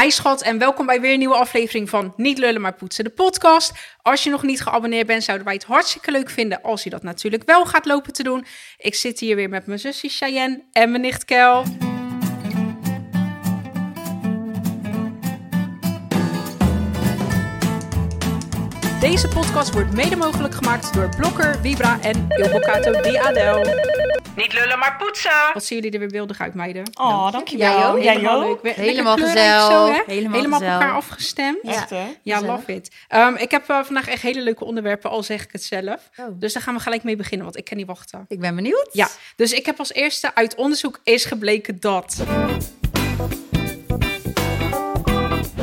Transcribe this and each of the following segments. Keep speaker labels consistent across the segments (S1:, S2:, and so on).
S1: Hi schat en welkom bij weer een nieuwe aflevering van Niet lullen maar poetsen, de podcast. Als je nog niet geabonneerd bent, zouden wij het hartstikke leuk vinden als je dat natuurlijk wel gaat lopen te doen. Ik zit hier weer met mijn zusje Cheyenne en mijn nicht Kel. Deze podcast wordt mede mogelijk gemaakt door Blokker, Vibra en Ilbocato di Adel.
S2: Niet lullen, maar poetsen.
S1: Wat zien jullie er weer beeldig uit, meiden?
S2: Oh, dankjewel.
S3: Nou, Jij ook?
S2: Jij
S1: Helemaal
S2: ook.
S1: leuk. We- lekker
S3: Helemaal
S1: kleurrijk
S3: gezellig.
S1: Zo, hè? Helemaal,
S3: Helemaal
S1: op
S3: gezellig.
S1: elkaar afgestemd.
S3: Ja.
S1: Ja,
S2: Echt, hè?
S3: Gezellig.
S1: love it. Ehm, ik heb eh, vandaag echt hele leuke onderwerpen, al zeg ik het zelf.
S3: Oh.
S1: Dus daar gaan we gelijk mee beginnen, want ik kan niet wachten.
S3: Ik ben benieuwd.
S1: Ja, dus ik heb als eerste uit onderzoek is gebleken dat.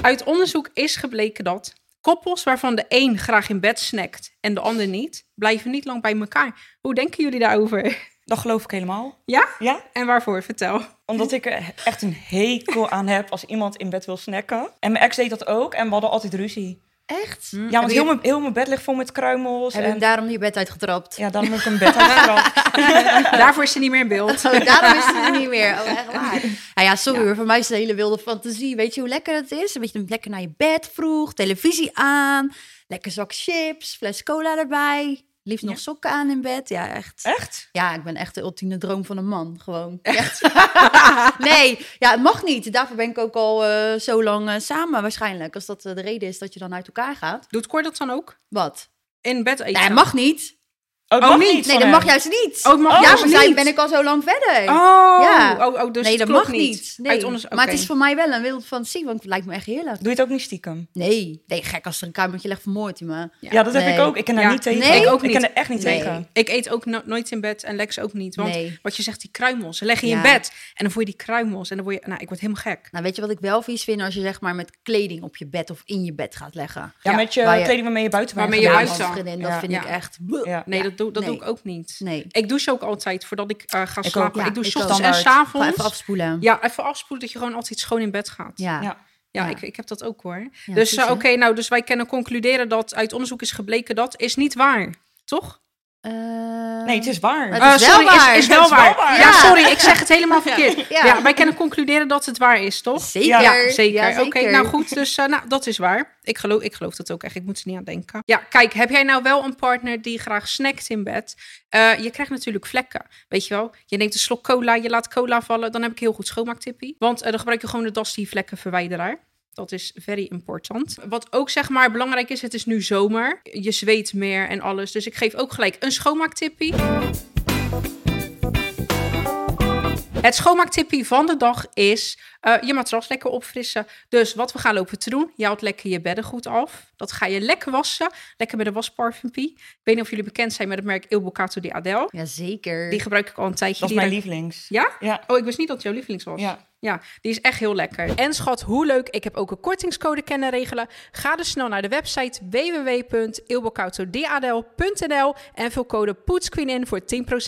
S1: Uit onderzoek is gebleken dat koppels waarvan de een graag in bed snackt en de ander niet, blijven niet lang bij elkaar. Hoe denken jullie daarover?
S2: Dat geloof ik helemaal.
S1: Ja?
S2: Ja,
S1: En waarvoor? Vertel.
S2: omdat ik er echt een hekel aan heb als iemand in bed wil snacken. En mijn ex deed dat ook en we hadden altijd ruzie.
S3: Echt?
S2: Ja, want
S3: Mm. je-
S2: heel mijn, heel mijn bed ligt vol met kruimels.
S3: Heb je hem
S2: En,
S3: daarom je bed uitgetrapt?
S2: ja, dan heb ik een bed uitgetrapt.
S1: Daarvoor is ze niet meer in beeld.
S3: Oh, daarom is het er niet meer. Oh, echt waar. Nou ja, sorry hoor. Voor mij is het een hele wilde fantasie. Weet je hoe lekker het is? Een beetje lekker naar je bed vroeg, televisie aan, lekker zak chips, fles cola erbij. Liefst nog sokken aan in bed. Ja, echt.
S2: Echt?
S3: Ja, ik ben echt de ultieme droom van een man, gewoon. Echt? nee, ja, het mag niet. Daarvoor ben ik ook al eh, zo lang eh, samen waarschijnlijk. Als dat eh, de reden is dat je dan uit elkaar gaat.
S1: Doet Cor dat dan ook?
S3: Wat?
S1: In bed eten?
S3: Nee, mag niet.
S2: Oh, dat
S1: Oh,
S2: mag
S1: niet.
S2: niet
S3: Nee,
S2: van hem.
S3: dat mag juist niet.
S1: Oh, het mag
S2: Oh,
S3: ja,
S1: juist
S3: maar zij
S1: niet.
S3: ben ik al zo lang verder.
S1: Oh,
S3: Ja.
S1: oh, oh, dus
S3: nee,
S1: het
S3: dat
S1: klopt
S3: mag niet. Nee.
S1: Uit onderzoek.
S3: Maar
S1: oké.
S3: het is voor mij wel een wilde fantasie, want het lijkt me echt heerlijk.
S2: Doe je het ook niet stiekem?
S3: Nee, nee gek als er een kamertje legt, vermoord hij me.
S1: Ja.
S2: Ja, dat heb
S3: Nee.
S2: ik ook. Ik kan daar
S1: Ja.
S2: niet tegen.
S3: Nee?
S2: Ik
S3: Ik
S1: ook
S2: Ik kan
S1: niet.
S2: er echt niet
S3: Nee.
S2: tegen.
S1: Ik eet ook no- nooit in bed en Lex ook niet. Want
S3: Nee.
S1: wat je zegt, die kruimels. Ze leggen je in
S3: Ja.
S1: bed en dan voel je die kruimels. En dan word je, nou, ik word helemaal gek.
S3: Nou, weet je wat ik wel vies vind als je zeg maar met kleding op je bed of in je bed gaat leggen?
S2: Ja,
S1: Ja.
S2: met je
S3: Waar je-
S2: kleding waarmee je buiten bent.
S1: Waarmee je
S2: geweest.
S1: buiten-
S3: man,
S1: uitzag.
S3: vriendin,
S2: Ja.
S3: dat vind ik
S1: Ja.
S3: echt... Bleh.
S2: Ja.
S1: Nee, dat, doe, dat
S3: nee.
S1: doe ik ook niet.
S3: Nee.
S1: Ik douche ook altijd voordat ik eh, ga
S2: Ik
S1: slapen.
S2: ook.
S1: ik doe
S3: Ja, ik
S1: ochtends
S2: ook.
S1: en
S2: Standaard.
S3: Gewoon
S1: s'avonds.
S3: even afspoelen.
S1: ja, even afspoelen dat je gewoon altijd schoon in bed gaat.
S2: Ja.
S3: Ja.
S1: Ja,
S3: Ja.
S1: Ik, ik heb dat ook hoor.
S3: Ja,
S1: dus
S3: precies,
S1: eh,
S3: hè?
S1: oké, nou, dus wij kunnen concluderen dat uit onderzoek is gebleken dat is niet waar. Toch?
S3: Eh,
S2: Nee, het is waar.
S3: Het is
S1: Eh,
S3: wel
S1: sorry,
S3: waar.
S1: Is, is wel
S2: Het is
S1: waar.
S2: wel waar.
S1: Ja,
S3: Ja.
S1: sorry, ik zeg het helemaal verkeerd. Ja.
S3: Ja.
S1: wij kunnen concluderen dat het waar is, toch?
S3: Zeker.
S2: Ja,
S1: Zeker.
S3: Ja,
S1: Oké, nou goed, dus eh, nou, dat is waar. Ik geloof, ik geloof dat ook echt. Ik moet er niet aan denken. Ja, kijk, heb jij nou wel een partner die graag snackt in bed? Eh, je krijgt natuurlijk vlekken, weet je wel. Je neemt een slok cola, je laat cola vallen. Dan heb ik een heel goed schoonmaaktippie. Want eh, dan gebruik je gewoon de Dusty vlekkenverwijderaar. Dat is very important. Wat ook zeg maar belangrijk is, het is nu zomer. Je zweet meer en alles. Dus ik geef ook gelijk een schoonmaaktippie. Het schoonmaaktippie van de dag is eh, je matras lekker opfrissen. Dus wat we gaan lopen te doen, je haalt lekker je beddengoed af. Dat ga je lekker wassen, lekker met een wasparfumpie. Ik weet niet of jullie bekend zijn met het merk Il Boccato di Adel.
S3: Ja, zeker.
S1: Die gebruik ik al een tijdje.
S2: Dat is
S1: Die
S2: mijn
S1: ruikt-
S2: lievelings.
S1: Ja?
S2: Ja.
S1: Oh, ik wist niet dat het jouw lievelings was.
S2: Ja.
S1: die is echt heel lekker. En schat, hoe leuk. Ik heb ook een kortingscode kennen regelen. Ga dus snel naar de website e www.ilbocautodadel.nl en vul code POETSQUEEN in voor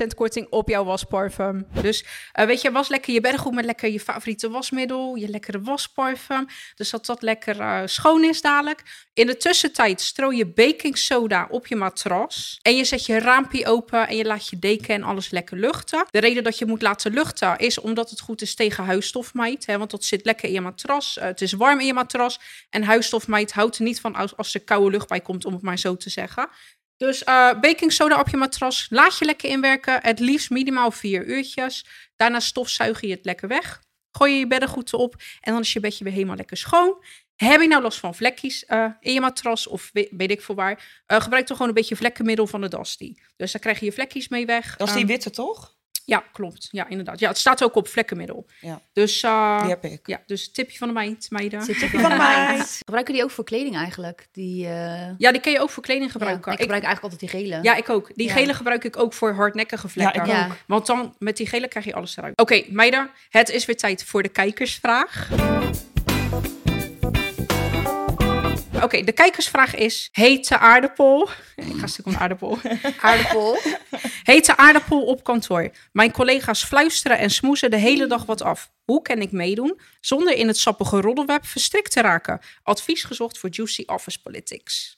S1: 10% korting op jouw wasparfum. Dus eh, weet je, was lekker je beddengoed met lekker je favoriete wasmiddel, je lekkere wasparfum. Dus dat dat lekker eh, schoon is dadelijk. In de tussentijd strooi je baking soda op je matras. En je zet je raampje open en je laat je deken en alles lekker luchten. De reden dat je moet laten luchten is omdat het goed is tegen huisstofmijt. Hè, want dat zit lekker in je matras. Eh, het is warm in je matras. En huisstofmijt houdt er niet van als, als er koude lucht bij komt, om het maar zo te zeggen. Dus eh baking soda op je matras. Laat je lekker inwerken. Het liefst minimaal vier uurtjes. Daarna stofzuig je het lekker weg. Gooi je je beddengoed erop. En dan is je bedje weer helemaal lekker schoon. Heb je nou last van vlekjes eh, in je matras of we- weet ik veel waar? eh, gebruik dan gewoon een beetje vlekkenmiddel van de Dusty. Dus dan krijg je je vlekjes mee weg.
S2: Dat is die
S1: Ehm,
S2: witte, toch?
S1: ja, klopt. Ja, inderdaad. Ja, het staat ook op vlekkenmiddel.
S2: Ja.
S1: Dus, eh,
S2: Die heb ik.
S1: ja, dus tipje van de meid, meiden.
S3: Zit je
S2: Van mij.
S3: Gebruiken die ook voor kleding eigenlijk? Die, eh,
S1: Ja, die kun je ook voor kleding
S3: ja,
S1: gebruiken.
S3: ik gebruik eigenlijk altijd die gele.
S1: Ja, ik ook. Die
S3: Ja.
S1: gele gebruik ik ook voor hardnekkige vlekken.
S2: ik
S3: Ja. ook.
S1: Want dan met die gele krijg je alles eruit. Oké, meiden, het is weer tijd voor de kijkersvraag. Oké, de kijkersvraag is: hete aardappel. Ik ga stuk om aardappel.
S3: Aardappel.
S1: Hete aardappel op kantoor. Mijn collega's fluisteren en smoezen de hele dag wat af. Hoe kan ik meedoen zonder in het sappige roddelweb verstrikt te raken? Advies gezocht voor Juicy Office Politics.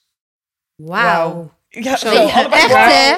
S3: Wauw.
S2: Ja,
S1: Zo.
S2: zo,
S3: Nee,
S2: allebei
S3: echt
S2: waar.
S3: hè?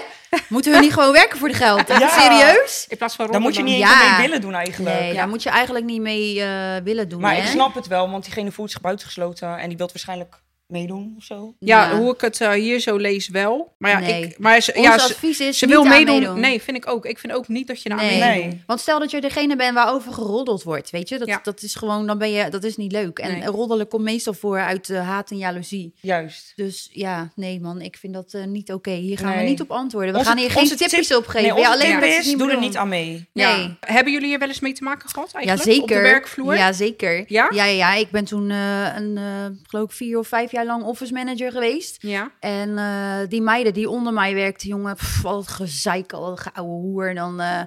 S3: Moeten we niet gewoon werken voor de geld? Echt
S2: Ja.
S3: serieus?
S1: In plaats van
S2: Daar moet je niet
S1: Rotterdam.
S2: eens
S3: Ja.
S2: mee willen doen eigenlijk.
S3: Nee, daar moet je eigenlijk niet mee eh, willen doen.
S2: Maar
S3: hè?
S2: ik snap het wel, want diegene voelt zich buitengesloten en die wilt waarschijnlijk meedoen of zo.
S1: Ja, hoe ik het eh, hier zo lees wel. Maar ja,
S3: Nee.
S1: ik, maar ze,
S3: Ons
S1: ja, ze,
S3: advies is
S1: ze
S3: niet
S1: wil
S3: aan
S1: meedoen.
S3: meedoen.
S1: Nee, vind ik ook. Ik vind ook niet dat je nou
S3: Nee.
S1: aan meedoet.
S2: Nee.
S3: Want stel dat je degene bent waarover geroddeld wordt, weet je? Dat,
S1: Ja.
S3: dat is gewoon, dan ben je, dat is niet leuk. En
S1: Nee.
S3: roddelen komt meestal voor uit eh, haat en jaloezie.
S2: Juist.
S3: Dus ja, nee man, ik vind dat eh, niet oké. Hier gaan we
S2: Nee.
S3: niet op antwoorden. We
S2: Onze-
S3: gaan hier geen
S2: onze tip-
S3: tipjes op geven.
S2: Nee, onze
S3: ja, alleen
S2: tip
S3: omdat ze
S2: is,
S3: het niet
S2: doe er
S3: bedoelen.
S2: niet aan mee.
S3: Nee.
S1: Ja. Hebben jullie hier wel eens mee te maken gehad eigenlijk?
S3: ja, zeker.
S1: Op de werkvloer?
S3: Ja, zeker.
S1: Ja?
S3: Ja, ja, Ik ben toen eh, een, eh, geloof ik, vier of vijf jaar lang office manager geweest.
S1: Ja.
S3: En eh, die meiden die onder mij werkten, jongen, pff, al het gezeik, al het geouwe hoer. En dan, eh,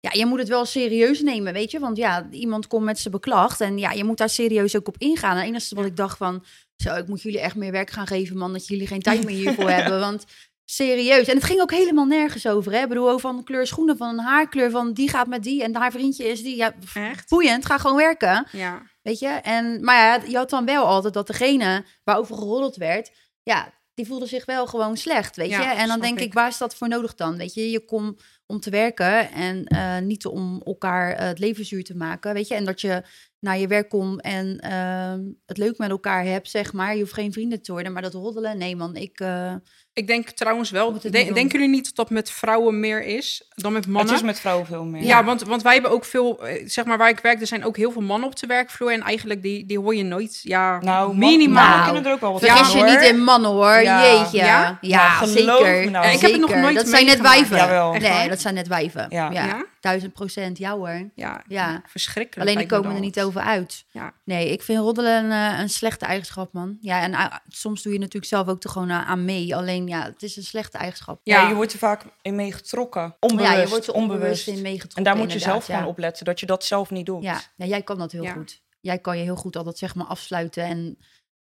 S3: ja, je moet het wel serieus nemen, weet je. Want ja, iemand komt met zijn beklacht en ja, je moet daar serieus ook op ingaan. En het enige wat ik dacht van, zo, ik moet jullie echt meer werk gaan geven, man. Dat jullie geen tijd meer hiervoor hebben, want... Serieus. En het ging ook helemaal nergens over. Hè? Ik bedoel, over van de kleur schoenen, van een haarkleur, van die gaat met die en haar vriendje is die. Ja, pff,
S1: Echt?
S3: boeiend, ga gewoon werken.
S1: Ja.
S3: Weet je? En, maar ja, je had dan wel altijd dat degene waarover geroddeld werd, ja, die voelde zich wel gewoon slecht, weet
S1: Ja,
S3: je? En dan
S1: snap
S3: denk ik.
S1: ik.
S3: waar is dat voor nodig dan? Weet je, je komt om te werken en eh, niet om elkaar eh, het leven zuur te maken, weet je? En dat je naar je werk komt en ehm, het leuk met elkaar hebt, zeg maar. Je hoeft geen vrienden te worden, maar dat roddelen, nee man, ik... eh,
S1: Ik denk trouwens wel.
S3: Moet het
S1: de-
S3: niet doen.
S1: denken jullie niet dat dat met vrouwen meer is dan met mannen?
S2: Het is met vrouwen veel meer.
S1: ja, want, want wij hebben ook veel, eh, zeg maar waar ik werk, er zijn ook heel veel mannen op de werkvloer. En eigenlijk die, die hoor je nooit. Ja,
S2: Nou, man-
S1: minimaal.
S2: mannen
S3: Nou,
S2: kunnen er ook wel wat
S3: Vergis
S2: aan,
S3: je
S2: hoor.
S3: niet in mannen hoor,
S2: Ja.
S3: jeetje. Ja,
S1: Ja?
S2: Ja, geloof
S3: zeker.
S2: me nou. Ja,
S1: ik heb het nog
S3: Zeker.
S1: nooit
S3: Dat zijn net
S1: meegemaakt.
S3: wijven.
S2: Jawel.
S1: Echt
S3: Nee,
S1: waar?
S3: dat zijn net wijven. Ja,
S2: Ja.
S1: Ja?
S3: duizend procent, ja hoor.
S1: Ja,
S3: Ja.
S1: verschrikkelijk.
S3: Alleen die
S1: lijkt me
S3: komen er
S1: dat.
S3: niet over uit.
S1: Ja.
S3: Nee, ik vind roddelen een, eh, een slechte eigenschap, man. Ja, en ah, soms doe je natuurlijk zelf ook er gewoon eh, aan mee. Alleen ja, het is een slechte eigenschap.
S1: Ja.
S2: Ja. je wordt er vaak in meegetrokken. Onbewust.
S3: Ja, je wordt er onbewust in
S2: En
S3: meegetrokken.
S2: daar moet je
S3: inderdaad,
S2: zelf
S3: ja.
S2: gewoon op letten, dat je dat zelf niet doet.
S3: Ja. ja, jij kan dat heel
S1: Ja.
S3: goed. Jij kan je heel goed altijd zeg maar afsluiten en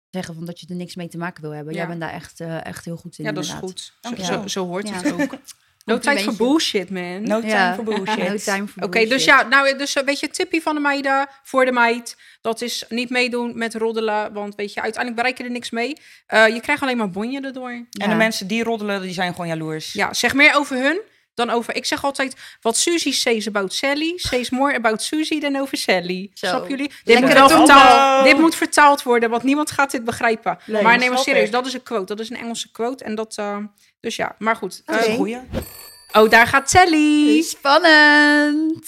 S3: zeggen van dat je er niks mee te maken wil hebben. Jij
S1: Ja.
S3: bent daar echt, eh, echt heel goed in.
S1: Ja, dat is
S3: inderdaad.
S1: goed.
S2: Dank
S1: Zo,
S2: je
S1: zo,
S2: wel.
S1: zo hoort
S3: Ja.
S1: het ook. No tijd voor
S3: Complimentje.
S1: bullshit, man.
S2: No time
S3: Ja.
S2: for
S3: No
S2: bullshit.
S3: time for
S1: Oké, dus
S3: bullshit.
S1: ja, nou, dus eh, weet je, tippie van de meiden voor de meid. Dat is niet meedoen met roddelen, want weet je, uiteindelijk bereik je er niks mee. Eh, je krijgt alleen maar bonje erdoor.
S2: En de
S3: Ja.
S2: mensen die roddelen, die zijn gewoon jaloers.
S1: Ja, zeg meer over hun dan over... Ik zeg altijd, wat Suzy says about Sally, says more about Suzy than over Sally.
S3: Zo.
S1: Snap jullie? Dit
S3: Lekker
S1: moet,
S3: wel
S1: totaal,
S2: vertaald.
S1: dit moet vertaald worden, want niemand gaat dit begrijpen.
S2: Nee,
S1: maar
S2: dat
S1: nee, maar
S2: snap
S1: serieus,
S2: ik.
S1: dat is een quote. Dat is een Engelse quote. En dat... eh, dus ja, maar goed.
S2: Dat is
S1: Eh,
S2: een goeie.
S1: oh, daar gaat Sally.
S3: Spannend.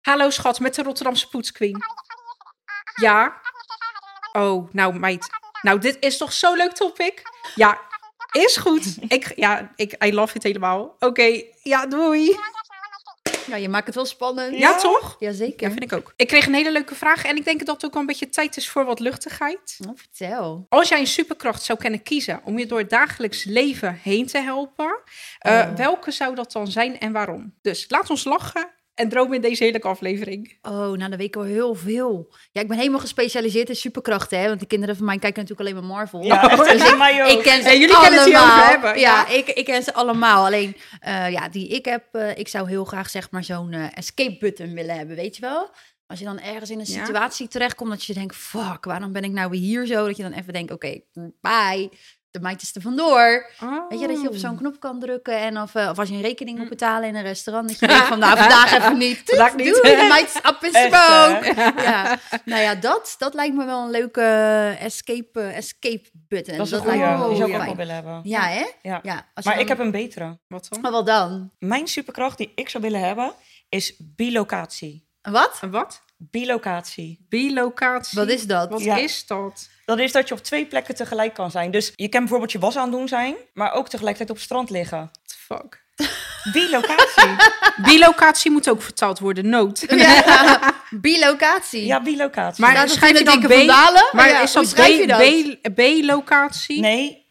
S1: Hallo schat, met de Rotterdamse poetsqueen. Ja? Oh, nou meid. Nou, dit is toch zo'n leuk topic? Ja, is goed. Ik, ja, ik, I love it helemaal. Oké, ja, doei.
S3: Nou, je maakt het wel spannend.
S1: Ja, toch?
S3: Jazeker.
S1: Ja, vind ik ook. Ik kreeg een hele leuke vraag en ik denk dat het ook wel een beetje tijd is voor wat luchtigheid.
S3: Nou, vertel.
S1: Als jij een superkracht zou kunnen kiezen om je door het dagelijks leven heen te helpen, eh,
S3: Oh.
S1: welke zou dat dan zijn en waarom? Dus laat ons lachen en dromen in deze hele aflevering.
S3: Oh, nou, dan weet ik wel heel veel. Ja, ik ben helemaal gespecialiseerd in superkrachten, hè. Want de kinderen van mij kijken natuurlijk alleen maar Marvel.
S2: Ja, dat is aan mij ook.
S3: Ik ken ze
S1: En jullie
S3: allemaal.
S1: kunnen het hierover hebben,
S3: Ja,
S1: ja.
S3: ik, ik ken ze allemaal. Alleen, eh, ja, die ik heb, eh, ik zou heel graag zeg maar zo'n eh, escape button willen hebben, weet je wel? Als je dan ergens in een
S1: Ja.
S3: situatie terechtkomt dat je denkt, fuck, waarom ben ik nou weer hier zo? Dat je dan even denkt, oké, bye, de meid is er vandoor. Weet je, dat je op
S2: Hmm.
S3: zo'n knop kan drukken. En of, eh, of als je een rekening moet betalen in een restaurant. Dat je denkt van, nou, vandaag even niet.
S1: Vandaag niet.
S3: Doei, de meid is up in
S2: Echt,
S3: smoke. Ja. Nou ja, dat, dat lijkt me wel een leuke eh, escape, eh, escape button.
S2: Dat is een
S3: lijkt me
S2: goeie. Die zou ik ook
S3: fijn.
S2: wel willen hebben.
S3: Ja, hè?
S2: Ja.
S3: als je
S2: Maar ik
S3: dan-
S2: heb een betere.
S1: Oh, Wat dan?
S3: Maar wat dan?
S2: Mijn superkracht die ik zou willen hebben, is bilocatie.
S3: Een Wat?
S1: Een wat?
S2: Bilocatie.
S1: Bilocatie.
S3: Wat is dat?
S1: Wat
S2: Ja.
S1: is dat?
S2: Dat is dat je op twee plekken tegelijk kan zijn. Dus je kan bijvoorbeeld je was aan het doen zijn, maar ook tegelijkertijd op het strand liggen.
S1: What the fuck?
S2: Bilocatie.
S1: Bilocatie moet ook vertaald worden, nood.
S3: Ja, bilocatie.
S2: ja, bilocatie.
S1: Maar
S3: Staat er
S1: schrijf je
S3: geen
S1: dan
S3: dikke
S1: B?
S3: vandalen?
S1: Maar
S3: Ja,
S1: is
S3: hoe
S1: dat
S3: schrijf je dat?
S1: B- B- B-locatie?
S2: Nee,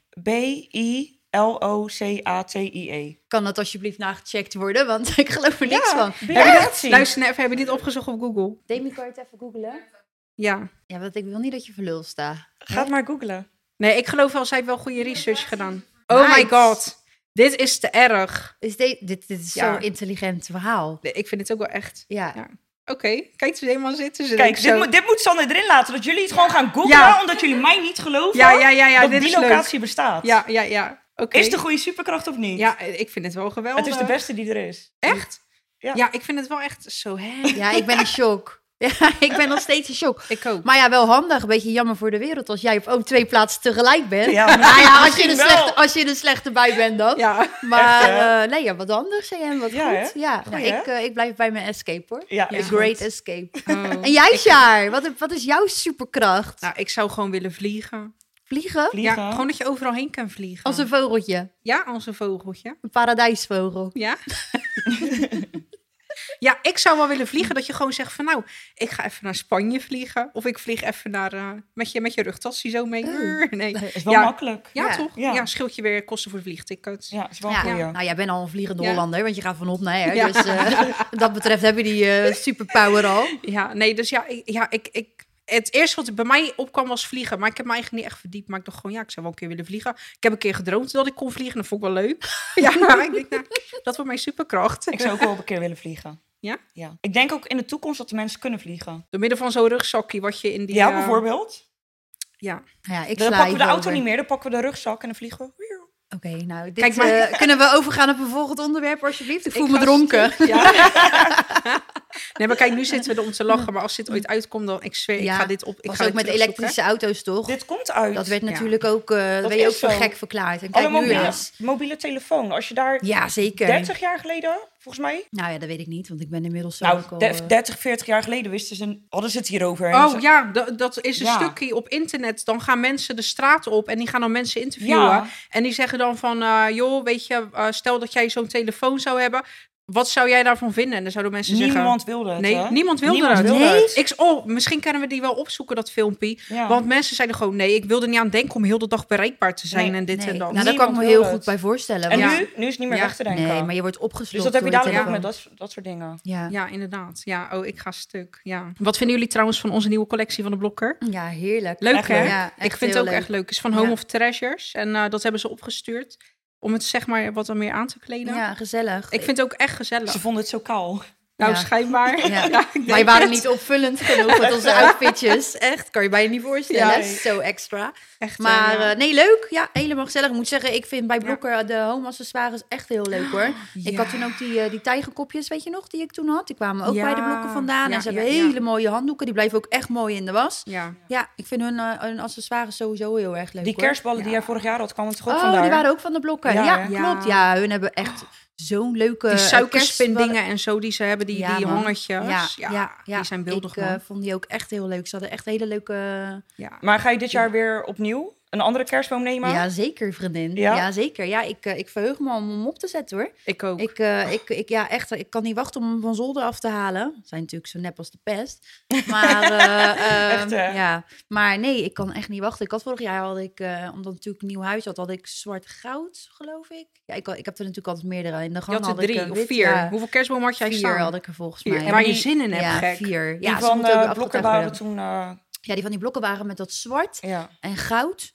S2: B-I-L-O-C-A-T-I-E.
S3: Kan dat alsjeblieft nagecheckt worden? Want ik geloof er niks
S2: E. Ja,
S3: van.
S2: bilocatie.
S1: Luister even, hebben we dit opgezocht op Google?
S3: Demi, kan je het even googlen?
S1: Ja.
S3: Ja, want ik wil niet dat je verlul staat.
S2: Ga het maar googlen.
S1: Nee, ik geloof wel, zij heeft wel goede research gedaan. Oh
S3: Meid.
S1: my god. Dit is te erg.
S3: Is de- dit, dit is
S1: Ja.
S3: zo'n intelligent verhaal.
S1: Nee, Ik vind dit ook wel echt.
S3: Ja.
S1: Ja. Oké, kijk eens helemaal zitten. Ze
S2: Kijk,
S1: denkt
S2: dit
S1: zo-
S2: moet, dit moet Sanne erin laten. Dat jullie het gewoon gaan googlen,
S1: Ja.
S2: omdat jullie mij niet geloven
S1: Ja, ja, ja, ja,
S2: dat
S1: dit is
S2: bilocatie bestaat.
S1: Ja, ja, ja. Oké.
S2: Is het een goede superkracht of niet?
S1: Ja, ik vind het wel geweldig.
S2: Het is de beste die er is.
S1: Echt? Ja.
S2: Ja.
S1: ik vind het wel echt zo hè.
S3: Ja, ik ben in shock. Ja, ik ben nog steeds in shock.
S1: Ik ook.
S3: Maar ja, wel handig. Een beetje jammer voor de wereld als jij op ook twee plaatsen tegelijk bent.
S2: Ja,
S3: nou ja, als je, er
S2: misschien
S3: slechte,
S2: wel.
S3: als je er slechte bij bent dan.
S1: Ja.
S3: Maar
S2: Echt, hè?
S3: eh, nee, ja, wat handig, CM. Wat
S2: Ja,
S3: goed.
S2: hè?
S3: Ja,
S2: Goeie,
S3: nou,
S2: hè?
S3: ik, eh, ik blijf bij mijn escape hoor.
S2: Ja,
S1: Ja.
S3: The
S2: is
S1: goed.
S3: Great escape.
S1: Oh.
S3: En jij, Sjaar? Wat, wat is jouw superkracht?
S1: Nou, ik zou gewoon willen vliegen.
S3: Vliegen?
S2: vliegen.
S1: Ja, gewoon dat je overal heen kan vliegen.
S3: Als een vogeltje.
S1: Ja, als een vogeltje.
S3: Een paradijsvogel.
S1: Ja. ja, ik zou wel willen vliegen dat je gewoon zegt van nou, ik ga even naar Spanje vliegen. Of ik vlieg even naar, eh, met, je, met je rugtasje zo mee.
S3: Oh.
S1: Nee. Ja,
S2: is wel
S1: Ja.
S2: makkelijk.
S3: Ja.
S1: toch? Ja.
S2: Ja.
S1: scheelt je weer kosten voor vliegtickets.
S2: Ja, is wel
S3: Ja,
S2: een goeie.
S3: nou jij bent al een vliegende
S1: Ja.
S3: Hollander, want je gaat van op naar her.
S1: Ja.
S3: Dus eh, wat dat betreft heb je die eh, superpower al.
S1: Ja, nee, dus ja, ik, ja ik, ik, het eerste wat bij mij opkwam was vliegen. Maar ik heb me eigenlijk niet echt verdiept. Maar ik dacht gewoon, ja, ik zou wel een keer willen vliegen. Ik heb een keer gedroomd dat ik kon vliegen. Dat vond ik wel leuk. ja, maar ik denk, nou, dat wordt mijn superkracht.
S2: Ik zou ook wel op een keer willen vliegen.
S1: Ja?
S2: ja? Ik denk ook in de toekomst dat de mensen kunnen vliegen.
S1: Door middel van zo'n rugzakje wat je in die...
S2: ja,
S1: eh,
S2: bijvoorbeeld.
S1: Ja.
S3: Ja, ik
S2: Dan pakken
S3: sla
S2: we de
S3: hierover.
S2: auto niet meer, dan pakken we de rugzak en dan vliegen we.
S3: Oké, nou, dit,
S1: Kijk maar.
S3: eh, kunnen we overgaan op een volgend onderwerp alsjeblieft? Ik voel
S1: Ik
S3: me
S1: ga
S3: dronken.
S1: Ja. nee, maar kijk, nu zitten we er om te lachen. Maar als dit ooit uitkomt, dan ik zweer,
S3: Ja,
S1: ik ga dit op. Ik
S3: was
S1: ga
S3: ook
S1: dit
S3: met
S1: terugzoeken.
S3: elektrische auto's toch?
S2: Dit komt uit.
S3: Dat werd
S1: Ja.
S3: natuurlijk ook, eh
S2: Dat
S3: ben je ook
S2: is
S3: voor
S2: zo.
S3: gek verklaard. En
S2: Alle
S3: kijk nu
S2: mobiele,
S3: eens.
S2: mobiele telefoon. Als je daar
S3: Ja, zeker.
S2: 30 jaar geleden, volgens mij.
S3: Nou ja, dat weet ik niet, want ik ben inmiddels zo ook al,
S2: Nou,
S3: eh,
S2: de- 30, 40 jaar geleden wisten ze, hadden ze het hierover. En ze-
S1: Oh ja, da- dat is een
S2: Ja.
S1: stukje op internet. Dan gaan mensen de straat op en die gaan dan mensen interviewen.
S2: Ja.
S1: En die zeggen dan van, eh, joh, weet je, eh, stel dat jij zo'n telefoon zou hebben. Wat zou jij daarvan vinden? En dan zouden mensen
S2: niemand wilde het.
S1: zeggen, nee,
S2: hè?
S1: niemand wil
S2: Niemand
S1: dat.
S2: wilde
S3: Nee?
S2: het.
S1: Ik, z- oh, misschien kunnen we die wel opzoeken, dat filmpje.
S2: Ja.
S1: Want mensen zeiden gewoon, nee, ik wilde niet aan denken om heel de dag bereikbaar te zijn
S2: Nee,
S1: en dit
S3: nee.
S1: en dat.
S3: Nou, daar kan ik
S2: Niemand
S3: me
S2: wil
S3: heel
S2: het.
S3: goed bij voorstellen.
S2: en
S3: want-
S2: nu, nu is het niet meer
S1: Ja.
S2: weg te denken.
S3: Nee, maar je wordt opgeslokt
S2: dus dat heb je
S3: door de
S2: dadelijk ook met
S3: telefoon.
S2: dat, s- dat soort dingen.
S3: Ja.
S1: Ja, inderdaad. Ja, oh, ik ga stuk. Ja. Wat vinden jullie trouwens van onze nieuwe collectie van de Blokker?
S3: ja, heerlijk.
S1: Leuk
S2: Echt
S1: hè?
S2: leuk.
S3: Ja,
S1: ik
S3: echt
S1: vind het
S3: heel
S1: ook echt leuk. Het is van Home of Treasures en eh, dat hebben ze opgestuurd om het zeg maar wat dan meer aan te kleden.
S3: Ja, gezellig.
S1: Ik vind het ook echt gezellig.
S2: Ze vonden het zo kaal.
S1: Nou,
S3: Ja.
S1: schijnbaar. Ja,
S3: Ja.
S1: ik
S3: Wij
S1: denk
S3: waren
S1: het.
S3: niet opvullend genoeg met onze outfitjes. Echt, kan je bijna niet voorstellen.
S2: Ja,
S3: Dat is Zo extra.
S1: echt. eh,
S3: Maar
S1: ja.
S3: eh, nee, leuk. Ja, helemaal gezellig. Ik moet zeggen, ik vind bij Blokker de home accessoires echt heel leuk hoor.
S1: Ah,
S3: Ik had toen ook die, eh, die tijgerkopjes, weet je nog, die ik toen had. Die kwamen ook
S1: Ja.
S3: bij de Blokker vandaan.
S1: Ja,
S3: en ze
S1: ja,
S3: hebben
S1: ja.
S3: hele mooie handdoeken. Die blijven ook echt mooi in de was.
S1: ja.
S3: Ja, ik vind hun, eh, hun accessoires sowieso heel erg leuk
S2: Die
S3: hoor.
S2: kerstballen die
S1: Ja.
S2: jij vorig jaar had, kwamen toch ook
S3: Oh,
S2: vandaar?
S3: die waren ook van de Blokker. Ja,
S2: Ja,
S1: hè?
S3: klopt. Ja, hun hebben echt zo'n leuke...
S1: Oh. Die
S3: eh, kerstballen.
S1: suikerspindingen en zo die ze hebben, die,
S3: Ja,
S1: die
S3: man.
S1: hangertjes. Ja, die zijn beeldig
S3: Ik eh,
S1: man.
S3: vond die ook echt heel leuk. Ze hadden echt hele leuke...
S1: Ja.
S2: Maar ga je dit jaar weer opnieuw een andere kerstboom nemen?
S3: Ja, zeker vriendin. Ja,
S2: Ja?
S3: zeker. Ja, ik, eh, ik verheug me om hem op te zetten hoor.
S1: Ik ook.
S3: Ik, eh, ik, ik, ja, echt, ik kan niet wachten om hem van zolder af te halen. Zijn natuurlijk zo nep als de pest. Maar, eh, eh,
S2: Echt, hè?
S3: ja. maar nee, ik kan echt niet wachten. Ik had vorig jaar, had ik, eh, omdat ik natuurlijk een nieuw huis had, had ik zwart goud, geloof ik. Ja, ik, had- ik heb er natuurlijk altijd meerdere. In de
S1: je
S3: gang
S1: had er
S3: had ik
S1: drie
S3: een
S1: of
S3: wit,
S1: vier.
S3: ja,
S1: Hoeveel kerstboom had jij
S3: vier
S1: staan?
S3: had ik er volgens
S1: Vier.
S3: mij.
S1: En waar je
S2: Die-
S1: zin in hebt,
S3: ja,
S1: gek. eh,
S3: vier.
S2: Die
S3: Ja, ze
S2: van
S3: moeten ook
S2: de
S3: weer
S2: blokken
S3: afgetuigd
S2: waren
S3: worden.
S2: toen... eh,
S3: Ja, die van die blokken waren met dat zwart
S2: ja.
S3: en goud.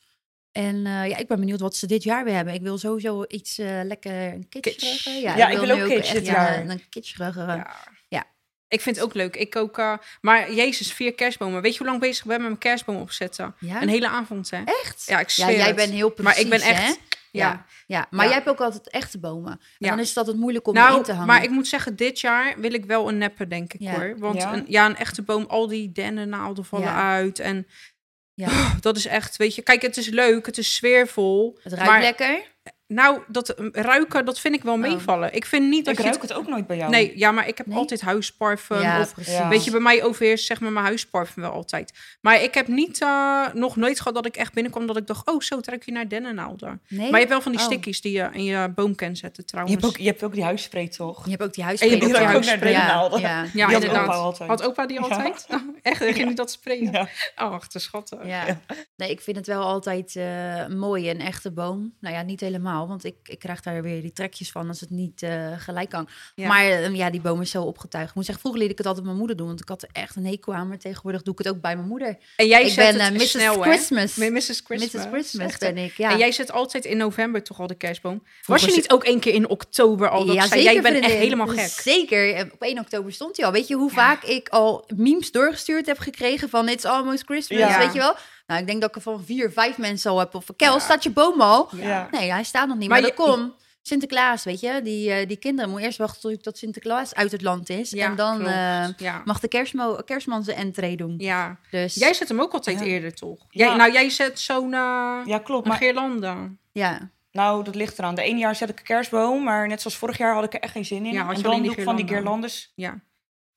S3: En eh, ja, ik ben benieuwd wat ze dit jaar weer hebben. Ik wil sowieso iets eh, lekker een kitscheriger.
S1: Ja,
S2: ik wil
S3: nu
S2: ook kitsch
S3: echt
S2: dit
S3: een-
S2: jaar.
S3: Een, kitscherige.
S1: Ja.
S3: Ja.
S1: Ik vind het ook leuk. Ik ook, eh, maar jezus, vier kerstbomen. Weet je hoe lang ik bezig ben met mijn kerstboom opzetten?
S3: Ja?
S1: Een hele avond, hè?
S3: Echt?
S1: Ja, ik
S3: Ja,
S1: zweer
S3: jij
S1: het.
S3: bent heel precies,
S1: Maar ik ben echt...
S3: hè?
S1: Ja.
S3: Ja, ja, maar
S1: Ja.
S3: jij hebt ook altijd echte bomen. En
S1: Ja.
S3: dan is het altijd moeilijk om in te
S1: Nou,
S3: hangen.
S1: maar ik moet zeggen, dit jaar wil ik wel een neppe, denk ik
S3: Ja.
S1: hoor. Want
S2: Ja?
S1: Een, ja, een echte boom, al die dennennaalden vallen
S3: Ja.
S1: uit. En
S3: ja.
S1: dat is echt, weet je... Kijk, het is leuk, het is sfeervol.
S3: Het ruikt
S1: maar,
S3: lekker. Oh.
S1: Nou, dat eh, ruiken, dat vind ik wel meevallen. Ik vind niet dat
S2: Ik
S1: je...
S2: ruik het ook nooit bij jou.
S1: Nee, ja, maar ik heb
S3: Nee?
S1: altijd huisparfum
S3: ja,
S1: of
S3: precies.
S2: Ja.
S1: Weet je, bij mij overheerst zeg maar mijn huisparfum wel altijd. Maar ik heb niet, eh, nog nooit gehad dat ik echt binnenkwam dat ik dacht, oh zo ruik je naar dennennaalden.
S3: Nee?
S1: Maar je hebt wel van die
S3: Oh.
S1: stickies die je in je boom kan zetten
S2: Je
S1: trouwens.
S2: hebt ook, je hebt ook die huisspray, toch?
S3: Je hebt ook die
S1: En je
S3: huisspray.
S1: hebt ook
S3: dat
S1: die
S3: hangt.
S1: huisspray.
S3: Ja,
S2: Ja.
S3: ja.
S1: ja,
S2: die had
S1: inderdaad.
S2: opa altijd.
S1: Had opa die
S2: Ja.
S1: altijd? Echt, dan ging hij dat sprayen. Oh,
S2: Ja.
S1: Ach, te schatten.
S3: Ja. nee, ik vind het wel altijd eh, mooi, een echte boom. Nou ja, niet helemaal, want ik, ik krijg daar weer die trekjes van als het niet eh, gelijk kan.
S1: Ja.
S3: Maar eh, ja, die boom is zo opgetuigd. Ik moet zeggen, vroeger liet ik het altijd mijn moeder doen, want ik had er echt een hekel aan. Maar tegenwoordig doe ik het ook bij mijn moeder.
S1: En jij
S3: ik
S1: zet
S3: ben eh,
S1: het
S3: Mrs.
S1: snel, hè?
S3: Christmas.
S1: M- Mrs. Christmas.
S3: Mrs. Christmas
S1: Echt, hè?
S3: ben ik, ja.
S1: En jij zet altijd in november toch al de kerstboom. Was
S3: Vroeger
S1: je
S3: ze-
S1: niet ook één keer in oktober al? oh, Dat
S3: ja,
S1: zei,
S3: zeker,
S1: jij bent echt
S3: vriendin.
S1: helemaal gek.
S3: Zeker. eh, Op 1 oktober stond hij al. Weet je hoe vaak ik al memes doorgestuurd heb gekregen van It's Almost Christmas,
S2: Ja.
S3: weet je wel? Nou, ik denk dat ik er van vier, vijf mensen al heb. Of Kel, staat je boom al?
S2: Ja.
S3: Nee, hij staat nog niet.
S1: Maar
S3: Maar, dat komt. Sinterklaas, weet je, die, eh, die kinderen moet eerst wachten tot Sinterklaas uit het land is.
S1: Ja,
S3: en dan
S1: klopt.
S3: eh,
S1: Ja.
S3: mag de kerstmo, kerstman zijn entree doen.
S1: ja.
S3: Dus
S1: Jij zet hem ook altijd
S2: Ja.
S1: eerder, toch?
S2: Ja.
S1: Jij, nou, jij zet zo'n eh,
S2: ja, klopt.
S1: een
S2: Maar
S1: guirlande.
S3: ja,
S2: nou, dat ligt eraan. De ene jaar zet ik een kerstboom, maar net zoals vorig jaar had ik er echt geen zin in.
S1: Ja, had je
S2: en dan
S1: alleen die
S2: doe ik van die
S1: guirlanden.
S2: guirlandes.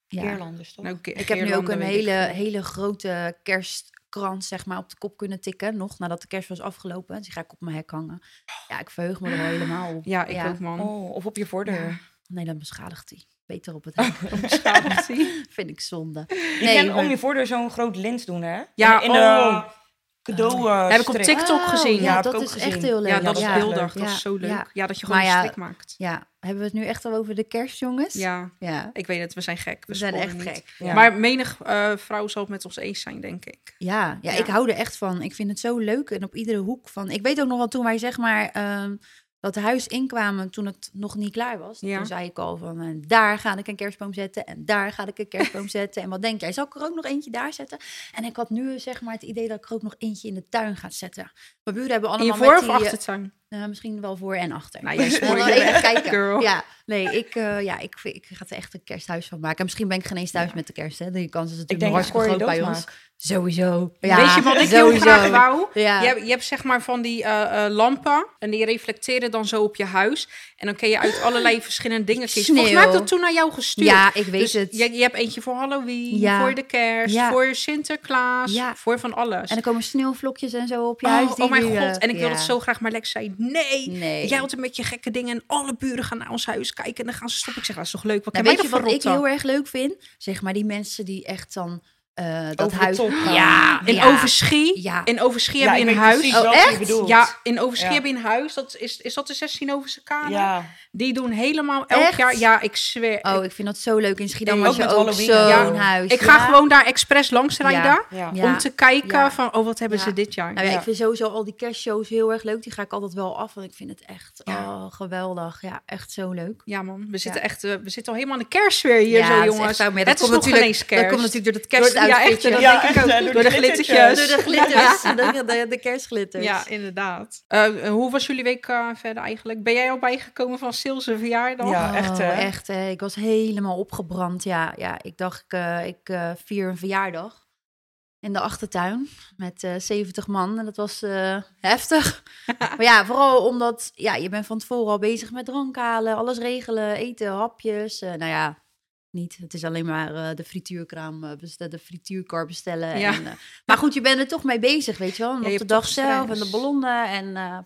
S1: Ja.
S3: ja.
S2: Guirlandes, toch?
S1: Nou, gu-
S3: Ik heb nu ook
S1: guirlande
S3: een
S1: weet
S3: hele,
S1: ik veel.
S3: hele grote kerstkrans zeg maar, op de kop kunnen tikken. Nog nadat de kerst was afgelopen. Dus die ga ik op mijn hek hangen. Ja, ik verheug me er wel helemaal op.
S1: Ja, ik ook, man.
S2: Oh, of op je voordeur.
S3: Nee, dan beschadigt hij. Beter op het hek.
S1: Onbeschadigd.
S3: Vind ik zonde.
S2: Je
S3: Nee,
S2: kan
S3: maar-
S2: om je voordeur zo'n groot lint doen, hè?
S1: Ja,
S2: in de
S1: oh.
S2: cadeau. eh,
S1: Heb ik op
S2: strip.
S1: TikTok
S3: Oh,
S1: gezien.
S3: Ja,
S2: Ja, heb
S3: dat
S2: ik ook
S3: is
S2: gezien.
S3: echt heel leuk.
S1: Ja, dat
S2: Ja.
S1: is beeldig. Dat
S3: Ja,
S1: is zo leuk.
S3: ja.
S1: Ja, dat je gewoon
S3: Maar
S1: een
S3: ja,
S1: strik maakt.
S3: Ja, hebben we het nu echt al over de kerst, jongens?
S1: Ja,
S3: Ja,
S1: ik weet het. We zijn gek.
S3: we zijn
S1: sporen
S3: echt
S1: niet.
S3: gek.
S2: Ja.
S1: Maar menig eh, vrouw zal het met ons eens zijn, denk ik.
S3: Ja, ja,
S1: Ja.
S3: ik hou er echt van. Ik vind het zo leuk en op iedere hoek van. Ik weet ook nog wel toen wij zeg maar ehm, dat huis inkwamen toen het nog niet klaar was.
S1: Ja.
S3: Toen zei ik al van eh, daar ga ik een kerstboom zetten en daar ga ik een kerstboom zetten. En wat denk jij? Zal ik er ook nog eentje daar zetten? En ik had nu zeg maar het idee dat ik er ook nog eentje in de tuin ga zetten. Mijn buren hebben
S1: In
S3: allemaal
S1: je voor
S3: met
S1: of
S3: die, eh,
S1: achtertuin?
S3: eh, misschien wel voor en achter.
S1: Nou, jij
S3: Ik wil
S1: spoort
S3: wel
S1: je
S3: even
S1: weg,
S3: kijken.
S1: girl.
S3: Ja, nee, ik, eh, ja, ik, vind- ik ga er echt een kersthuis van maken. En misschien ben ik geen eens thuis met de kerst. Hè. Die kans is natuurlijk
S2: denk
S3: nog
S2: dat Cor
S3: hartstikke
S2: je
S3: groot bij ons.
S2: doodmaakt.
S3: Sowieso. Ja,
S1: Weet je wat ik heel
S3: sowieso.
S1: graag wou?
S3: Ja.
S1: Je, hebt, je hebt zeg maar van die eh, eh, lampen en die reflecteren dan zo op je huis. En dan kun je uit allerlei verschillende dingen kiezen. Volgens mij heb ik
S3: Sneeuw.
S1: dat toen naar jou gestuurd.
S3: Ja, ik weet
S1: Dus
S3: het.
S1: Je, je hebt eentje voor Halloween,
S3: Ja.
S1: voor de kerst,
S3: Ja.
S1: voor Sinterklaas,
S3: Ja.
S1: voor van alles.
S3: En er komen sneeuwvlokjes en zo op je huis.
S1: Oh,
S3: die
S1: oh mijn
S3: nu, eh,
S1: god, en ik wil
S3: ja.
S1: het zo graag. Maar Lex zei, nee,
S3: Nee.
S1: jij altijd met je gekke dingen. En alle buren gaan naar ons huis kijken en dan gaan ze stoppen. Ik zeg, dat is toch leuk? Wat
S3: Nou,
S1: kan
S3: weet je
S1: mij
S3: wat
S1: dan
S3: ik heel erg leuk vind? Zeg maar die mensen die echt dan eh, dat
S2: Over de
S3: huis...
S2: top gaan.
S3: ja,
S1: In
S3: ja.
S1: Overschie,
S3: Ja.
S1: in Overschie
S2: Ja,
S1: heb
S2: ik
S1: je een
S2: weet
S1: huis.
S2: precies
S3: Oh,
S2: wat
S3: echt?
S2: je bedoelt.
S1: Ja, in Overschie
S2: Ja.
S1: heb je een huis. Dat is, is dat de 16 Overse Kamer?
S2: Ja.
S1: Die doen helemaal elk
S3: Echt?
S1: jaar. Ja, ik zweer.
S3: Oh, ik vind dat zo leuk. In Schiedam
S2: Ook
S3: was je
S2: met
S3: ook
S2: Halloween.
S1: Ja.
S3: zo'n huis.
S1: ik ga
S3: Ja.
S1: gewoon daar expres langs rijden.
S2: Ja.
S3: Ja.
S1: Om te kijken
S3: Ja.
S1: van, oh, wat hebben
S3: Ja.
S1: ze dit jaar?
S3: Nou ja,
S2: Ja.
S3: ik vind sowieso al die kerstshows heel erg leuk. Die ga ik altijd wel af, want ik vind het echt oh, geweldig. Ja, echt zo leuk.
S1: Ja man, we zitten echt, eh, we zitten al helemaal in de kerstsfeer hier zo, jongens.
S3: Het is,
S1: het is nog
S3: natuurlijk,
S1: geen eens kerst.
S3: Dat komt natuurlijk door het
S1: ja, echt,
S3: kerstoutfitje.
S1: dat
S2: Ja,
S1: denk
S2: echt,
S1: ik
S2: hè,
S1: ook. Door, de glittertjes.
S3: Door de glitters, de, de, de kerstglitters.
S1: Ja, inderdaad. Eh, hoe was jullie week eh, verder eigenlijk? Ben jij al bijgekomen van Sils' verjaardag?
S2: Ja.
S3: Oh,
S2: echt,
S3: echt,
S2: hè?
S3: hè. Ik was helemaal opgebrand. Ja, ja ik dacht, ik, eh, ik eh, vier een verjaardag in de achtertuin met eh 70 man. En dat was eh, heftig. maar ja, vooral omdat ja, je bent van tevoren al bezig met drank halen, alles regelen, eten, hapjes. Eh, nou ja, niet. Het is alleen maar eh, de frituurkraam, eh, bestel- de frituurkar bestellen.
S1: Ja.
S3: En, eh, maar goed, je bent er toch mee bezig, weet je wel. En
S1: Ja, je
S3: op de
S1: hebt
S3: dag
S1: toch
S3: zelf en
S1: stress.
S3: de ballonnen en... eh,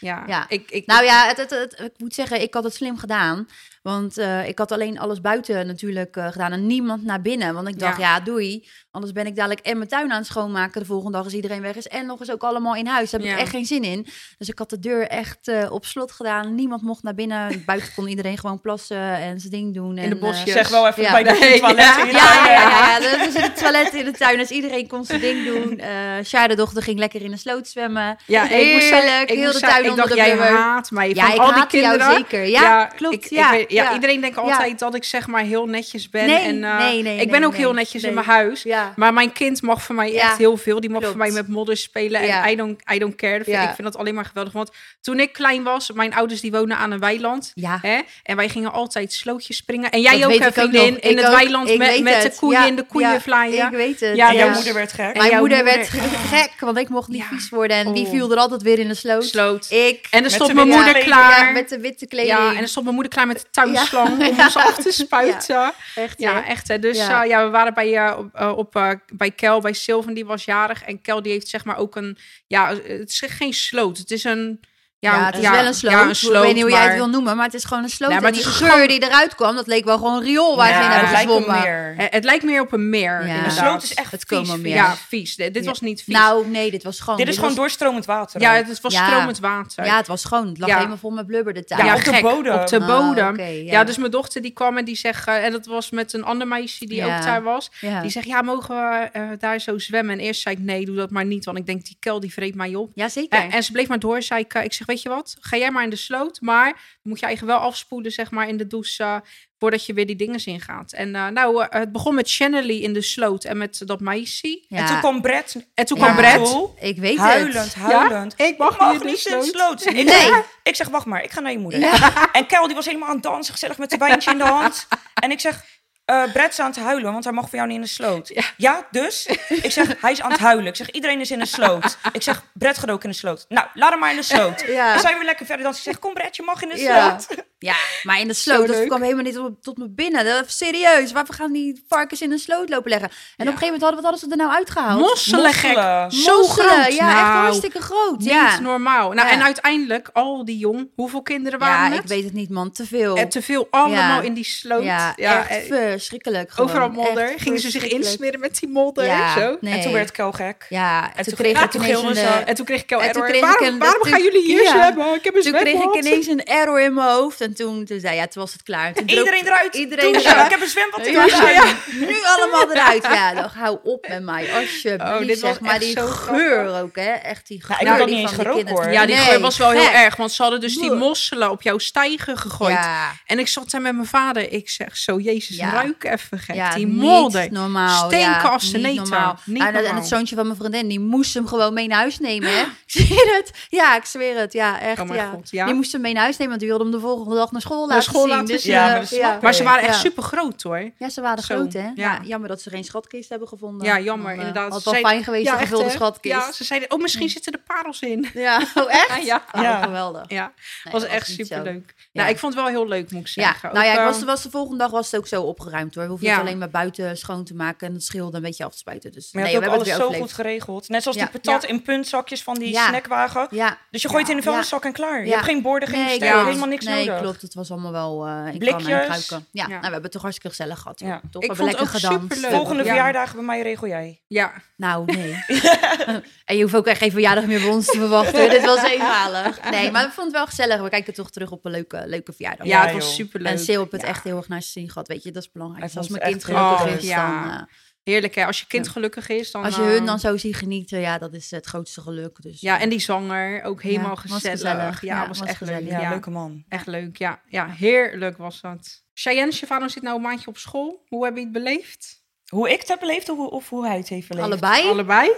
S1: Ja.
S3: Ja.
S1: Ik, ik,
S3: nou ja, het, het, het- ik moet zeggen, ik had het slim gedaan. Want eh, ik had alleen alles buiten natuurlijk eh, gedaan en niemand naar binnen. Want ik dacht, ja.
S1: Ja.
S3: doei. Anders ben ik dadelijk en mijn tuin aan het schoonmaken. De volgende dag is iedereen weg is. En nog eens ook allemaal in huis. Daar heb
S1: Ja.
S3: ik echt geen zin in. Dus ik had de deur echt eh, op slot gedaan. Niemand mocht naar binnen. Buiten kon iedereen gewoon plassen en zijn ding doen. en,
S1: de
S3: eh,
S1: bosjes.
S2: Zeg wel even
S3: Ja.
S2: bij de
S1: Nee,
S2: toilet eh,
S1: ja.
S2: in.
S3: ja, ja, ja, Dus ja. Er zit een toilet in de tuin, dus iedereen kon zijn ding doen. Eh Shar, de dochter, ging lekker in de sloot zwemmen.
S1: ja, ik moest
S3: Heerlijk,
S1: zeggen- ik
S3: heel
S1: moest
S3: de
S1: zeggen,
S3: tuin
S1: ik
S3: onder
S1: dacht,
S3: de
S1: jij
S3: blubber.
S1: haat mij
S3: Ja,
S1: van
S3: ik
S1: al die
S3: haat jou
S1: kinderen.
S3: zeker. Ja, klopt.
S1: ik- ik
S3: ja,
S1: weet- ja,
S3: ja.
S1: iedereen denkt altijd dat ik zeg maar heel netjes ben.
S3: Nee,
S1: en, eh,
S3: nee, nee,
S1: ik ben
S3: nee,
S1: ook heel
S3: nee,
S1: netjes in
S3: nee.
S1: mijn huis.
S3: Ja.
S1: Maar mijn kind mag voor mij
S3: Ja,
S1: echt heel veel. Die mag
S3: klopt.
S1: voor mij met modder spelen. En
S3: Ja.
S1: I, don't, I don't care. Dat vind-
S3: Ja.
S1: Ik vind dat alleen maar geweldig. Want toen ik klein was, mijn ouders die wonen aan een weiland.
S3: Ja.
S1: Hè? En wij gingen altijd slootjes springen. En jij
S3: Dat
S1: ook,
S3: weet
S1: hè,
S3: ik ook
S1: vriendin,
S3: nog.
S1: in
S3: Ik
S1: het
S3: ook.
S1: weiland
S3: Ik
S1: met,
S3: weet
S1: met de
S3: het.
S1: koeien
S3: Ja,
S1: in de koeien
S3: Ik weet het.
S1: Ja,
S2: En jouw
S1: dus-
S2: moeder werd gek.
S1: En
S3: Mijn
S1: jouw
S3: moeder, werd
S1: moeder.
S3: gek, want ik mocht niet
S1: Ja.
S3: vies worden. En wie
S1: Oh.
S3: viel er altijd weer in de sloot?
S1: Sloot.
S3: Ik.
S1: En dan stond
S2: de
S1: mijn
S2: witte
S1: moeder
S2: kleding.
S1: klaar.
S3: Ja, met de witte kleding.
S1: Ja, en dan stond mijn moeder klaar met de touwslang om
S3: Ja.
S1: ons af te spuiten. Ja,
S3: echt. hè?
S1: echt. Hè. Dus
S3: Ja.
S1: ja. ja, we waren bij, eh, op, eh, op, eh, bij Kel, bij Sylvan, die was jarig. En Kel die heeft zeg maar ook een... Ja, eh, het is geen sloot. Het is een... Ja,
S3: Ja, het is
S1: ja,
S3: wel een sloot.
S1: Ja, een
S3: ik
S1: sloot,
S3: weet niet hoe jij het
S1: maar-
S3: wil noemen, maar het is gewoon een sloot.
S1: Nee, maar
S3: en
S1: het
S3: die
S1: is
S3: geur die eruit kwam, dat leek wel gewoon riool waar ze
S2: Ja,
S3: in
S2: het
S3: hebben
S2: lijkt wel
S3: gezwommen.
S2: meer.
S1: Eh, Het lijkt meer op een meer,
S3: Ja.
S1: inderdaad.
S2: De sloot is echt
S3: Het
S2: vies.
S3: komen meer.
S2: vies.
S1: Ja, vies. Dit dit
S3: Ja.
S1: was niet vies.
S3: Nou, nee, dit was gewoon.
S2: Dit is gewoon
S3: was,
S2: doorstromend water.
S1: ja,
S2: ook.
S1: het was
S3: Ja.
S1: stromend water.
S3: Ja, het was schoon. Het lag
S1: Ja.
S3: helemaal vol met blubber de tuin.
S2: Ja,
S1: Ja,
S2: op de
S1: gek.
S2: bodem.
S1: Op de
S3: Oh,
S1: bodem.
S3: oké, ja.
S1: ja. dus mijn dochter die kwam en die zegt... eh, en dat was met een ander meisje die
S3: Ja.
S1: ook daar was.
S3: Ja.
S1: Die zegt, ja, mogen we eh, daar zo zwemmen? En eerst zei ik, nee, doe dat maar niet. Want ik denk, die kel die vreet mij op.
S3: Ja, zeker.
S1: Eh, en ze bleef maar doorzeiken. Ik zeg, weet je wat, ga jij maar in de sloot. Maar dan moet je eigenlijk wel afspoelen, zeg maar, in de douche. eh, voordat je weer die dingen in gaat. En eh, nou, eh, het begon met Channelie in de sloot en met dat maïsie.
S3: Ja,
S2: En toen kwam Brett.
S1: En toen
S3: Ja.
S1: kwam Brett.
S2: Brett.
S3: ik weet
S2: Huilend,
S3: het.
S2: huilend.
S1: Ja? Ik mag
S2: Ik mag dus
S1: niet in de
S2: niet in de
S1: sloot.
S2: sloot. Ik,
S3: Nee.
S2: ik zeg, wacht maar, ik ga naar je moeder. En Kel die was helemaal aan het dansen, gezellig met zijn wijntje in de hand. En ik zeg, eh Brett is aan het huilen, want hij mag voor jou niet in de sloot. Ja. dus? Ik zeg, hij is aan het huilen. Ik zeg, iedereen is in de sloot. Ik zeg, Brett gaat ook in de sloot. Nou, laat hem maar in de sloot.
S3: Ja.
S2: En zijn we lekker verder dansen. Ik zeg, kom Brett, je mag in de
S3: Ja.
S2: sloot.
S3: Ja, maar in de sloot, dat
S1: leuk.
S3: kwam helemaal niet op- tot me binnen. Dat, serieus, waarvoor gaan die varkens in een sloot lopen leggen? En op een gegeven moment hadden, wat hadden ze er nou uitgehaald?
S1: Mosselen gek.
S2: Mosselen.
S1: Zo
S3: Mosselen,
S1: groot.
S3: Ja,
S1: nou,
S3: echt hartstikke groot.
S1: Niet
S3: Ja,
S1: normaal. Nou,
S3: Ja.
S1: en uiteindelijk, al die jong, hoeveel kinderen waren
S3: ja
S1: het?
S3: ik weet het niet, man. Te veel.
S1: En te veel allemaal
S3: Ja.
S1: in die sloot.
S3: ja,
S1: en
S3: echt verschrikkelijk. gewoon.
S1: overal
S3: Echt
S1: modder. Gingen ze zich
S3: verschrikkelijk.
S1: insmeren met die modder
S3: Ja,
S1: en zo.
S3: nee.
S2: En toen werd Kel gek.
S3: Ja, en
S2: toen-
S3: toen kreeg
S2: ja,
S3: ik
S2: toen
S3: ineens
S2: gilden
S3: een...
S2: ze.
S3: eh,
S1: En toen kreeg ik al
S3: En toen
S1: error.
S3: kreeg ik
S1: Waarom,
S3: een-
S1: waarom
S3: toen-
S1: gaan jullie hier
S3: ja.
S1: zwemmen? Ik heb een
S3: Toen kreeg ik
S1: zwembad.
S3: ineens een error in mijn hoofd. En toen, toen zei ja, toen was het klaar. En Toen droop-
S2: Iedereen eruit.
S3: Iedereen
S2: Douchen.
S3: eruit.
S2: Ik heb een zwembad in
S3: Ja,
S2: de tuin.
S3: Nu allemaal eruit. Ja, dan hou op met mij. Alsjeblieft,
S1: Oh, dit was
S3: zeg maar.
S1: echt
S3: Die
S1: zo
S3: geur ook, hè. Echt die
S1: Nou,
S3: geur.
S2: heb
S3: die
S2: dat niet eens
S3: van die
S2: gerookt,
S3: kinderen.
S2: hoor.
S1: Ja, die
S3: Nee,
S1: geur was wel heel
S3: gek.
S1: erg. Want ze hadden dus die
S3: Bleh.
S1: mosselen op jouw stijgen gegooid.
S3: Ja,
S1: En ik zat daar met mijn vader. Ik zeg zo, Jezus,
S3: Ja.
S1: ruik even gek.
S3: ja,
S1: die
S3: niet
S1: modder.
S3: normaal.
S1: Stinken
S3: ja,
S1: als de
S3: niet
S1: neter.
S3: normaal.
S1: Niet
S3: Ah, en, dat- en
S1: normaal.
S3: het zoontje van mijn vriendin, die moest hem gewoon mee naar huis nemen, hè. Ik zweer het. Ja, ik zweer het. Ja, echt.
S1: Oh mijn
S3: ja.
S1: God, ja.
S3: Die moest hem mee naar huis nemen, want die wilde hem de volgende dag naar school laten
S1: school
S3: zien.
S1: laten
S3: dus,
S1: zien.
S2: Ja,
S3: eh,
S2: maar dat snap ik.
S1: Maar ze waren echt
S3: Ja.
S1: super groot hoor.
S3: Ja, ze waren
S1: Zo,
S3: groot, hè? Ja.
S1: ja.
S3: jammer dat ze geen schatkist hebben gevonden.
S1: Ja, jammer,
S3: Dan, eh,
S1: inderdaad.
S3: Had
S1: Ze
S3: wel
S1: zei-
S3: fijn geweest, een
S1: echt,
S3: gevulde
S1: hè? Ja,
S3: schatkist.
S1: ze zeiden, oh misschien zitten er parels in.
S3: Ja, oh echt?
S1: Ja.
S3: Oh,
S2: Ja.
S3: geweldig. Nee,
S1: Ja,
S3: dat
S1: was echt
S3: niet zo.
S1: super leuk.
S3: Ja.
S1: Nou, ik vond het wel heel leuk moet ik
S3: Ja,
S1: zeggen.
S3: nou ja,
S1: Ook,
S3: ik
S1: eh,
S3: was, was de volgende dag was het ook zo opgeruimd hoor. We hoefden
S1: Ja.
S3: het alleen maar buiten schoon te maken en het schilde een beetje af te spuiten. Dus
S2: Maar je
S3: nee,
S2: hebt
S3: we
S2: ook
S3: hebben
S2: alles
S3: het
S2: zo
S3: weer
S2: goed
S3: overleefd.
S2: geregeld. Net zoals
S3: Ja.
S2: die patat in puntzakjes van die
S3: Ja.
S2: snackwagen.
S3: Ja.
S2: Dus je gooit het in de
S3: Ja.
S2: vuilniszak en klaar. Je
S3: Ja.
S2: hebt geen borden, geen
S3: Nee,
S2: stijl,
S1: klopt.
S2: helemaal niks
S3: nee,
S2: nodig.
S3: klopt. Het was allemaal wel eh in
S2: Blikjes.
S3: kannen en kruiken. Ja,
S1: Ja.
S3: Nou, we hebben het toch hartstikke gezellig gehad.
S2: Ja.
S3: Ja. Toch? We
S1: Ik
S3: hebben
S1: vond
S3: lekker
S1: het ook
S3: gedanst. We
S1: superleuk.
S3: hebben-
S2: Volgende
S1: Ja.
S2: verjaardagen bij mij regel jij.
S1: Ja,
S3: Nou, nee. en je hoeft ook echt geen verjaardag meer bij ons te verwachten. Dit was eenmalig. Nee, maar we vonden het wel gezellig. We kijken toch terug op een leuke, leuke verjaardag.
S1: ja, het
S2: joh.
S1: was super
S3: En
S1: leuk.
S3: Sil heeft het
S1: Ja.
S3: echt heel erg naar zijn zin gehad. Weet je, dat is belangrijk.
S2: Hij
S3: Als
S2: vond
S3: mijn
S2: het
S3: kind
S2: echt heel
S3: gelukkig
S1: leuk.
S3: is,
S1: Ja.
S3: dan... eh,
S1: Heerlijk hè, als je kind gelukkig is. Dan,
S3: als je hun
S1: eh,
S3: dan zo ziet genieten, ja, dat is het grootste geluk. Dus,
S1: Ja, en die zanger, ook helemaal
S3: was
S1: gezellig.
S3: gezellig.
S1: Ja,
S3: Ja,
S1: was,
S3: was
S1: echt leuk.
S3: gezellig.
S1: Ja,
S2: Ja, leuke man.
S1: Echt leuk, ja. Ja, heerlijk was dat. Cheyenne, Shivano zit nou een maandje op school. Hoe heb je het beleefd?
S2: Hoe ik het heb beleefd of hoe, of hoe hij het heeft beleefd.
S3: allebei.
S1: Allebei?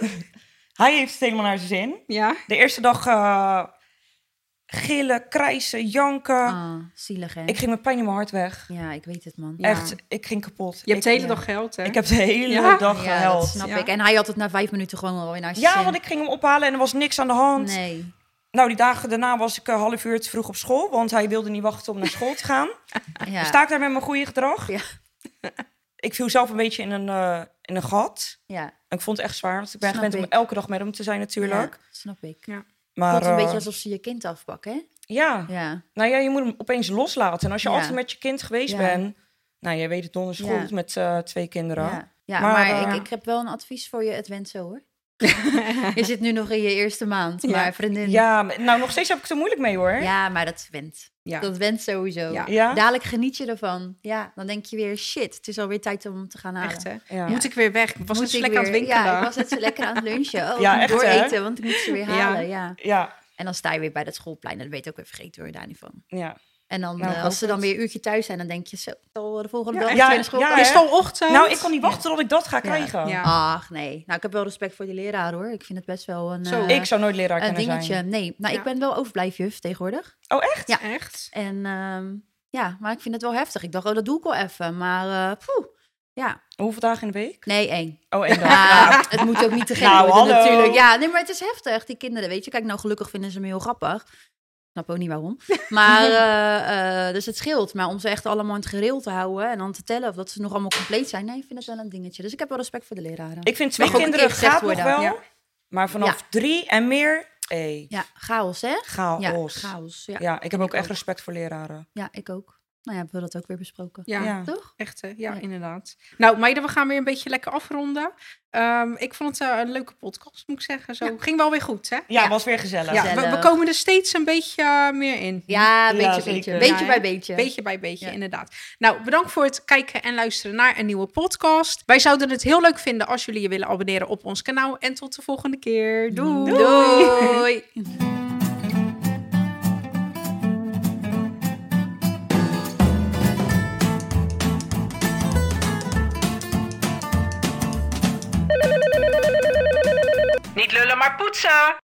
S2: Hij heeft het helemaal naar zijn zin.
S1: Ja.
S2: De eerste dag eh, gillen, krijsen, janken.
S3: Ah, zielig, hè?
S2: Ik ging met pijn in mijn hart weg.
S3: Ja, ik weet het, man.
S1: Ja.
S2: Echt, ik ging kapot.
S1: Je hebt de
S2: ik,
S1: hele dag geld, hè?
S2: ik heb de hele
S1: Ja?
S2: dag
S3: Ja, dat
S2: gehuild.
S3: snap
S1: Ja.
S3: ik. En hij had het na vijf minuten gewoon alweer naar zijn
S2: Ja,
S3: zin.
S2: want ik ging hem ophalen en er was niks aan de hand.
S3: Nee.
S2: Nou, die dagen daarna was ik een half uur te vroeg op school, want hij wilde niet wachten om naar school te gaan.
S3: Ja.
S2: Sta ik daar met mijn goede gedrag?
S3: Ja.
S2: ik viel zelf een beetje in een, eh, in een gat.
S3: ja.
S2: En ik vond het echt zwaar, want ik ben
S3: Snap
S2: gewend om
S3: ik.
S2: elke dag met hem te zijn natuurlijk.
S3: Ja, snap ik.
S2: Maar
S3: Voelt een
S2: eh,
S3: beetje alsof ze je kind afpakken, hè?
S2: ja.
S3: Ja.
S2: nou ja, je moet hem opeens loslaten. En als je
S3: Ja.
S2: altijd met je kind geweest
S3: Ja.
S2: bent, nou, jij weet het donders
S3: Ja.
S2: goed met eh, twee kinderen.
S3: Ja, ja
S2: Maar,
S3: maar,
S2: eh,
S3: ik, ik heb wel een advies voor je. Het went zo, hoor. je zit nu nog in je eerste maand,
S1: Ja.
S3: maar vriendin...
S2: Ja, maar- nou nog steeds heb ik het er moeilijk mee hoor.
S3: Ja, maar dat went.
S1: Ja.
S3: Dat went sowieso.
S1: Ja.
S2: Ja?
S3: Dadelijk geniet je ervan. Ja, dan denk je weer, shit, het is alweer tijd om hem te gaan halen.
S1: Echt, hè?
S2: Ja.
S1: Moet ik weer weg? Ik was
S3: Moet
S1: net zo
S3: ik
S1: lekker aan het
S3: weer-
S1: winkelen.
S3: Ja, ik was net zo lekker aan het lunchen. Oh,
S2: Ja,
S3: ja,
S2: echt, hè?
S3: dooreten, want ik moet ze weer
S1: Ja.
S3: halen. Ja.
S2: Ja,
S3: En dan sta je weer bij dat schoolplein. En dat weet ook weer vergeten hoor, daar niet van.
S2: ja.
S3: En dan,
S2: Nou,
S3: eh,
S2: ik hoop
S3: als ze dan
S2: het.
S3: weer een uurtje thuis zijn, dan denk je zo, zal de
S1: Ja,
S3: volgende dag
S2: echt,
S3: weer
S2: ja,
S3: naar school
S2: ja,
S3: gaan?
S2: hè?
S1: Is het al ochtend?
S2: Nou, ik kon niet wachten tot ik dat ga krijgen.
S1: Ja.
S3: Ach, nee. Nou, ik heb wel respect voor die leraar hoor. Ik vind het best wel een,
S1: Zo,
S3: eh,
S2: Ik zou nooit leraar
S3: een
S2: kunnen
S3: dingetje.
S2: zijn.
S3: Nee, nou,
S1: Ja.
S3: ik ben wel overblijfjuf tegenwoordig.
S2: Oh, echt?
S3: Ja.
S1: Echt?
S3: En ehm, ja, maar ik vind het wel heftig. Ik dacht, oh, dat doe ik wel even. Maar eh, poeh, ja.
S2: Hoeveel dagen in de week?
S3: Nee, één.
S2: Oh, één dag.
S3: Ja, het moet ook niet te gek
S2: Nou,
S3: worden
S2: hallo.
S3: natuurlijk. Ja, nee, maar het is heftig, die kinderen, weet je. Kijk, nou, gelukkig vinden ze me heel grappig. Ik snap ook niet waarom. Maar, eh, eh, dus het scheelt. Maar om ze echt allemaal in het gereel te houden en dan te tellen of dat ze nog allemaal compleet zijn. Nee, ik vind het wel een dingetje. Dus ik heb wel respect voor de leraren.
S2: Ik vind twee
S3: Mag ook een
S2: kinderen
S3: keer gezegd
S2: gaat nog
S3: worden,
S2: wel.
S1: ja.
S2: Maar vanaf drie en meer, hey,
S3: Ja, chaos, hè?
S2: chaos.
S3: Ja, chaos. Ja,
S2: Ja,
S3: ja.
S2: ik heb ook
S3: ik
S2: echt
S3: ook.
S2: respect voor leraren.
S3: ik ook. Nou ja, hebben we dat ook weer besproken.
S1: Ja.
S2: Ja.
S3: Toch?
S1: Echt, hè? Ja,
S3: Ja.
S1: inderdaad. Nou, meiden, we gaan weer een beetje lekker afronden. Ehm, ik vond het eh, een leuke podcast, moet ik zeggen. Zo. Ging wel weer goed, hè?
S2: Ja,
S3: Ja.
S2: was weer gezellig.
S1: Ja, we, we
S3: Gezellig.
S1: komen er steeds een beetje eh, meer in.
S3: Ja,
S2: Ja,
S3: beetje, beetje.
S2: zeker.
S3: Beetje
S1: Ja, hè?
S3: bij beetje.
S1: Beetje bij beetje,
S3: Ja.
S1: inderdaad. Nou, bedankt voor het kijken en luisteren naar een nieuwe podcast. Wij zouden het heel leuk vinden als jullie je willen abonneren op ons kanaal. En tot de volgende keer. Doei!
S3: Doei.
S2: Doei, Lisa.